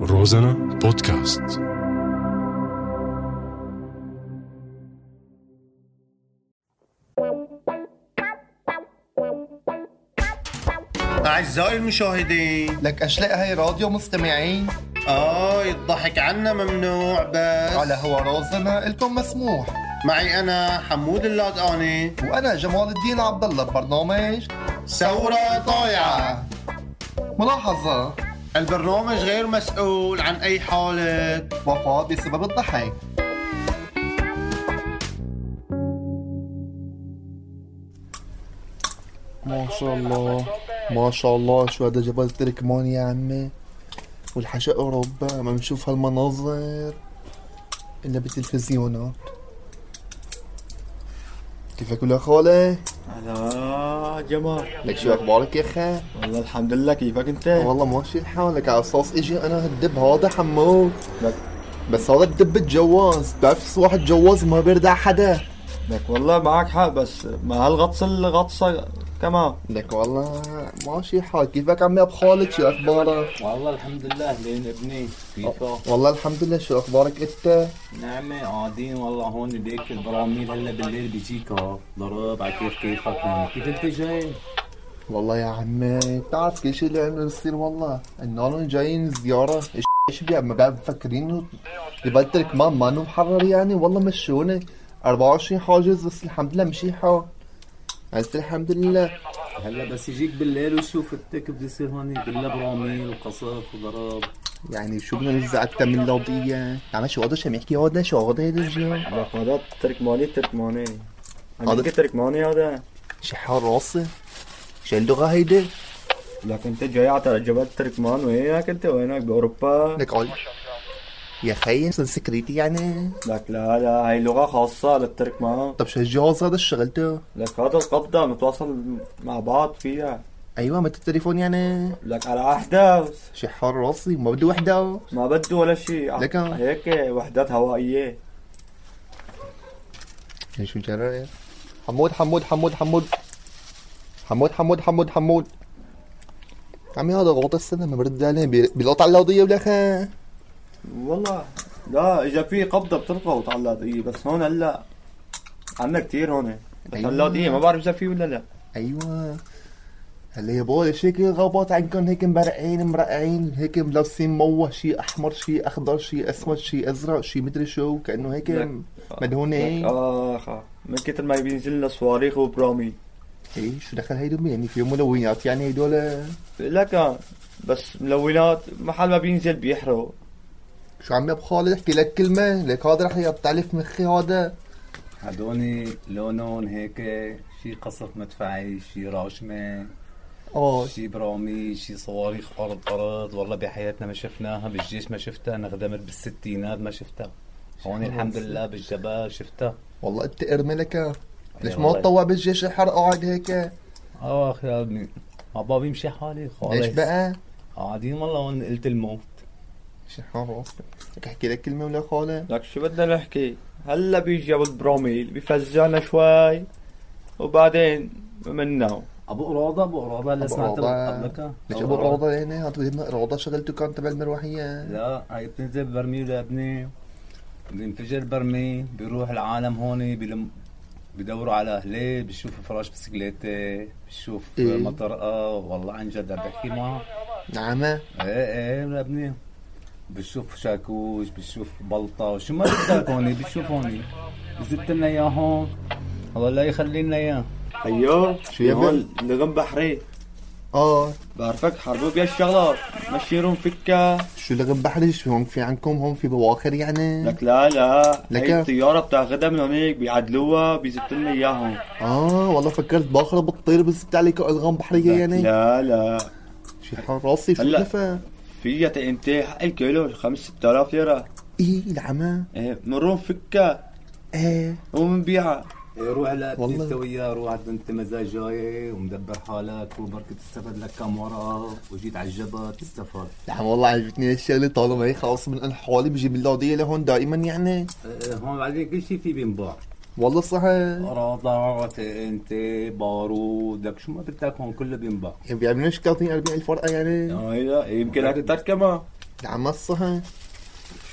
روزانا بودكاست أعزائي المشاهدين لك أشلاء هاي راديو مستمعين آه الضحك عنا ممنوع بس على هو رازنا إلكم مسموح معي أنا حمود اللادقاني وأنا جمال الدين عبد الله ببرنامج ثورة طايعة ملاحظة البرنامج غير مسؤول عن أي حالة وفاة بسبب الضحك ما شاء الله ما شاء الله شو هذا جبل تركمان يا عمي والحشاء أوروبا ما بنشوف هالمناظر إلا بالتلفزيونات كيفك ولا خالي؟ هلا جمال لك شو أخبارك يا أخي؟ والله الحمد لله كيفك انت؟ والله ماشي الحال لك على اساس اجي انا هالدب هذا حمود لك بس هذا الدب تجوز بتعرف بس واحد تجوز ما بيردع حدا لك والله معك حق بس ما هالغطس الغطسه كمان لك والله ماشي الحال كيفك عمي ابو خالد شو اخبارك والله الحمد لله لين ابني كيفه والله الحمد لله شو اخبارك انت نعمة قاعدين والله هون ليك البراميل هلا بالليل بيجيك اهو ضرب على كيف كيفك يعني كيف انت جاي؟ والله يا عمي بتعرف كل شيء اللي عمله يصير والله النهار جايين زياره ايش بيع ما قاعد مفكرين انه جبال تركمان ما انه محرر يعني والله مشوني 24 حاجز بس الحمد لله مشي حال بس الحمد لله هلا بس يجيك بالليل وشوف التك بده يصير هون بالله براميل وقصف وضرب يعني شو بدنا نرجع التمن لوضية عم يعني شو هذا شو يحكي هذا شو هذا يرجع لك هذا تركماني تركماني هذا- عم تركماني هذا شي حار راسي شو اللغة هيدي لك انت جاي على جبل تركمان وينك انت وينك باوروبا لك قال يا خي مثل سكريتي يعني لك لا لا هاي لغه خاصه للتركمان طب شو الجهاز هذا شغلته لك هذا القبضه متواصل مع بعض فيها ايوه متى التليفون يعني لك على احداث شي حار راسي ما بده وحده ما بده ولا شيء لك- هيك وحدات هوائيه يعني شو مجرد حمود حمود حمود حمود حمود حمود حمود حمود عمي هذا غلط السنة ما برد عليه بي- بيلقط على اللوضية ولا خا والله لا اذا في قبضه بتلقط على اللاذقيه إيه، بس هون هلا عنا كتير هون بس أيوة. أيوة. اللاذقيه ما بعرف اذا في ولا لا ايوه هلا يا بوي شكل غبط عندكم هيك مرقعين مرقعين هيك ملابسين موه شي احمر شي اخضر شي اسود شي ازرق شي مدري شو كانه هيك لك. مدهونين اخ آخ. من كتر ما بينزل لنا صواريخ وبرامي ايه شو دخل هيدول يعني فيهم ملونات يعني هيدول لك آه، بس ملونات محل ما بينزل بيحرق شو عمي ابو خالد احكي لك كلمه لك هذا رح يبتعلف مخي هذا هدوني لونهم هيك شي قصف مدفعي شي راشمة اه شي براميل شي صواريخ ارض ارض والله بحياتنا ما شفناها بالجيش ما شفتها انا غدمت بالستينات ما شفتها هون الحمد لله بالجبال شفتها والله انت ارمي لك ليش ما والله. تطوع بالجيش الحرق قاعد هيك اه اخي يا ابني ما بابي يمشي حالي خالص ليش بقى؟ قاعدين والله هون قلت الموت شو حار لك احكي لك كلمه ولا خالد لك شو بدنا نحكي هلا بيجي ابو البراميل بيفزعنا شوي وبعدين منا ابو قراضه ابو قراضه اللي أبو سمعت قراضة. قبلك ليش ابو روضه يعني هذا روضه شغلته كان تبع المروحيه لا هي بتنزل برميل يا ابني بينفجر برميل بيروح العالم هون بيلم بدوروا على اهليه بيشوف فراش بسكليته بيشوف إيه. مطرقه والله عن جد عم بحكي معه نعم ايه ايه يا ابني بشوف شاكوش بشوف بلطة شو ما بدك هون بشوف هون بزت لنا اياه هون الله لا يخلي لنا اياه ايوه شو شو يا هون نغم بحري اه بعرفك حربوا بيها الشغلات مشيرون فكها شو لغم بحري شو هون في عندكم هون في بواخر يعني لك لا لا لك هي الطيارة بتاخدها من هونيك بيعدلوها بيزت لنا اياهم اه والله فكرت باخره بتطير بس عليك الغام بحريه يعني لا لا شي حار راسي شو هلا. لفه فيها تنتهي حق الكيلو خمس ست آلاف ليرة ايه العمى إيه، مرون فكها ايه ومنبيعها إيه روح لا والله. انت وياه روح عند انت مزاج جاي ومدبر حالك وبرك تستفاد لك كم ورقه وجيت على الجبل تستفاد العمى والله عجبتني هالشغله طالما هي خلاص من انا حوالي بجيب اللوضيه لهون دائما يعني إيه هون بعدين كل شيء فيه بينباع والله صحيح قراضه انت بارود لك شو ما بدك هون كله بينباع يعني بيعملوش 30 40 الف ورقه يعني هيدا يمكن اكتر كمان عم الصحة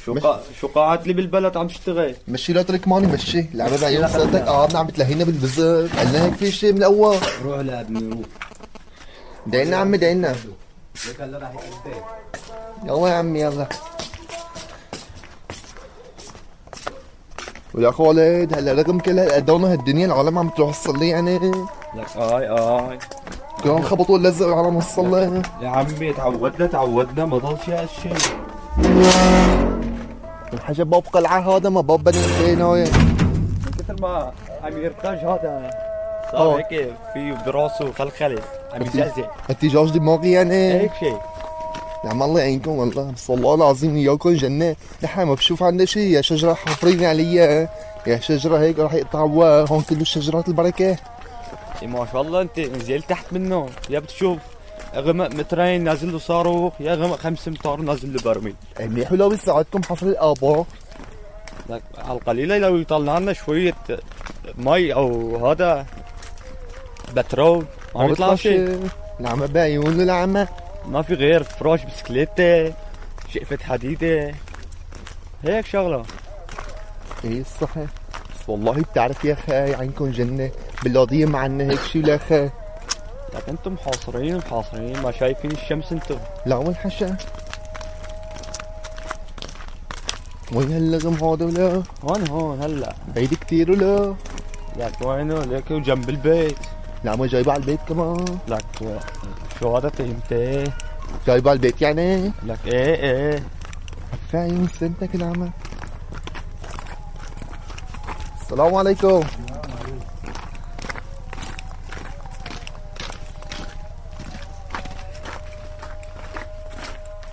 شو قا... شو قاعد لي بالبلد عم تشتغل مشي لا ترك ماني مشي لعبة عيون صدق قعدنا عم تلهينا نعم، بالبزر قلنا هيك في شيء من الاول روح لابني روح دعينا عمي دعينا لك هلا رح يقلب يلا يا عمي يلا ولك ولد هلا رقم كل هالقدونا هالدنيا العالم عم تروح تصلي يعني لك اي اي كلهم خبطوا اللزق والعالم عم تصلي يا عمي تعودنا تعودنا ما ضل في هالشيء الحاجة باب قلعة هذا ما باب بني حسين هاي من كثر ما عم يرتاج هذا أوه. صار هيك في براسه خلخله عم يزعزع ارتجاج دماغي يعني هيك شيء نعم الله يعينكم والله بس والله العظيم ياكم جنة نحن ما بشوف عندنا شيء يا شجرة حافرين عليا يا شجرة هيك راح يقطعوها هون كل الشجرات البركة إيه ما شاء الله انت نزل تحت منه يا بتشوف غمق مترين نازل له صاروخ يا غمق خمس امتار نازل له برميل إيه، منيح ولو يساعدكم حفر الآباء لك على القليله لو يطلع لنا شويه مي او هذا بترول ما عم يطلع شيء العمى بعيون العمى ما في غير فراش بسكليته شقفه حديده هيك شغله ايه صح بس والله بتعرف يا اخي عينكم جنة بالقضية ما عنا هيك شيء ولا اخي لك انتم محاصرين محاصرين ما شايفين الشمس انتم لا وين حشا وين هاللغم هذا ولا هون هون هلا بعيد كتير ولا لك وينه لك جنب البيت العمى جايبة على البيت كمان لك شو هذا تهمته جايبة على البيت يعني لك ايه ايه فاهم سنتك العمى السلام عليكم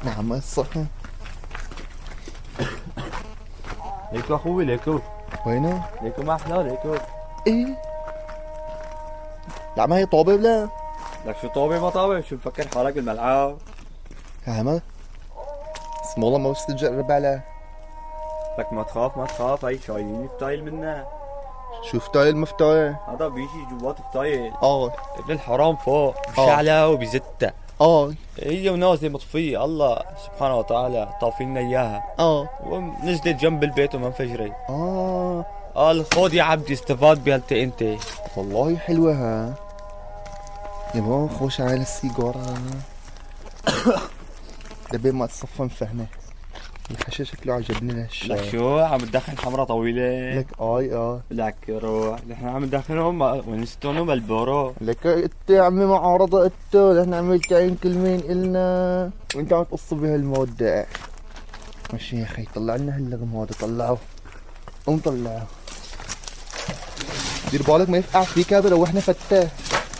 نعم الصح ليكو اخوي ليكو وينه؟ ليكو ما احلى ليكو ايه العمى هي طابة ولا؟ لك شو طابه ما طابه شو مفكر حالك بالملعب العمى اسم والله ما بس تجرب على لك ما تخاف ما تخاف هي شايلين فتايل منا شوف تاي المفتاح هذا بيجي جوات آه. فتايل اه ابن الحرام فوق بشعلة وبزتة اه هي ونازله مطفيه الله سبحانه وتعالى طافينا اياها اه ونزلت جنب البيت وما انفجرت اه قال خذ يا عبدي استفاد بهالتي انت والله حلوة ها يبا خوش على السيجارة دبي ما تصفن فهمه الحشا شكله عجبني لك لهالشاي شو عم تدخن حمرة طويلة لك اي اه لك روح نحن عم ندخنهم ونستونهم بالبورو لك انت يا عمي معارضة انت نحن عملت عين كلمين النا وانت عم تقص بهالمودة ماشي يا اخي طلع لنا هاللغم هذا طلعه قوم طلعه دير بالك ما يفقع فيك هذا روحنا فتاه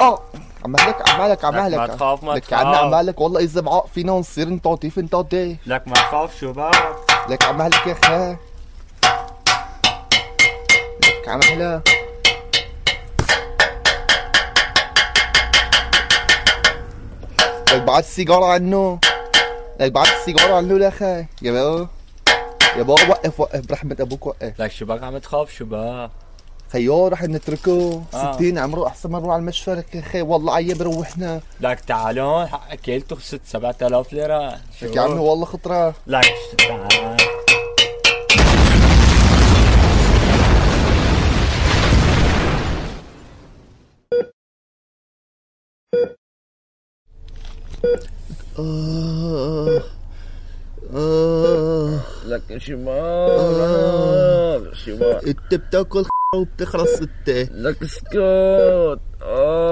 اه عمالك عمالك عمالك ما تخاف، ما لك تخاف. عنا عمالك والله اذا بعاق فينا ونصير انت عطيف انت عطيف لك ما تخاف شباب لك عمالك يا خا لك عمالك لك بعد السيجارة عنه لك بعد السيجارة عنه يا خا يا بابا يا بابا وقف وقف برحمة ابوك وقف لك شباب عم تخاف شباب خيو رح نتركه آه. 60 عمره احسن ما نروح على المشفى لك يا خي والله عيب روحنا لك تعالون حقك يلتو 6 7000 ليرة شو؟ لك يا عمي والله خطره لك ش- تعال آه. آه. لك شباب آه. شباب انت بتاكل وبتخرس انت لك اسكت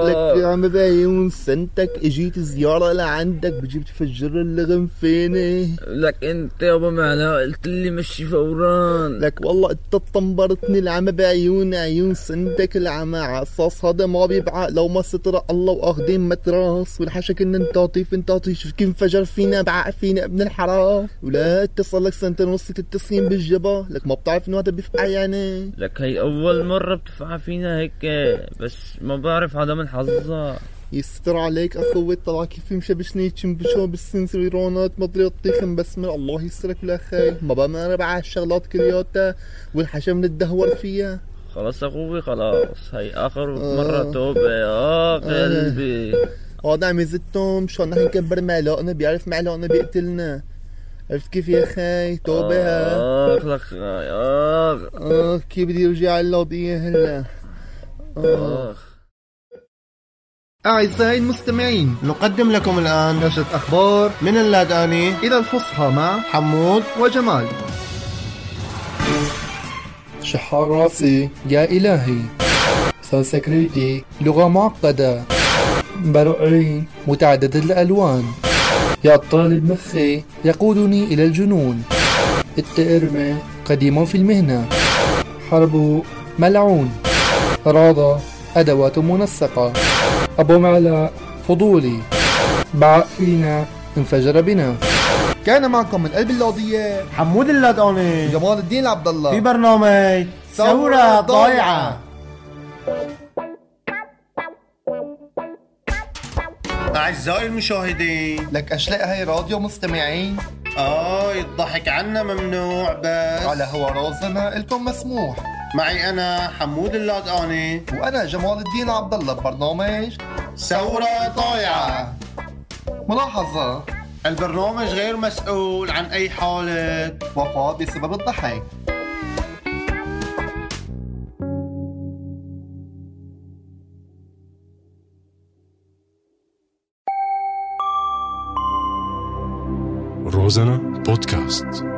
لك يا عم باين سنتك اجيت زيارة لعندك بجيب تفجر الغنفينة لك انت يابا معناها قلت لي مشي فوران لك والله انت طنبرتني العمى بعيون عيون سندك العمى عصاص هذا ما بيبعق لو ما ستر الله واخدين متراس والحشك ان انت لطيف انت لطيف كيف انفجر فينا بعق فينا ابن الحرام ولا اتصل لك سنتين ونص ست سنين بالجبا لك ما بتعرف انه هذا بيفقع يعني لك هي اول مرة بتفقع فينا هيك بس ما بعرف هذا من حظها يستر عليك اخوي طلع كيف مشبشني تشمبشو بالسنسر رونات مدري الطيخ مبسمر الله يسترك ولا خير ما بمر بعها الشغلات كلياتها والحشم نتدهور فيها خلاص اخوي خلاص هي اخر آه. مرة توبة يا قلبي هذا عم يزتهم شو نحن نكبر معلقنا بيعرف معلقنا بيقتلنا عرفت كيف يا خي توبة ها اخ لك اخ اه كيف بدي ارجع على القضية هلا اه اخ أعزائي المستمعين نقدم لكم الآن نشرة أخبار من اللاداني إلى الفصحى مع حمود وجمال شحار راسي يا إلهي سانسكريتي لغة معقدة برعي متعدد الألوان يا الطالب مخي يقودني إلى الجنون التئرمة قديم في المهنة حرب ملعون راضة أدوات منسقة أبو معلاء فضولي بعق فينا انفجر بنا كان معكم من قلب اللوضية حمود اللاداني جمال الدين عبد الله في برنامج ثورة ضايعة أعزائي المشاهدين لك اشلاء هاي راديو مستمعين آه الضحك عنا ممنوع بس على هو رازنا الكم مسموح معي أنا حمود اللاداني وانا جمال الدين عبد الله ببرنامج ثورة ضايعة ملاحظه البرنامج غير مسؤول عن أي حالة وفاه بسبب الضحك Розана подкаст.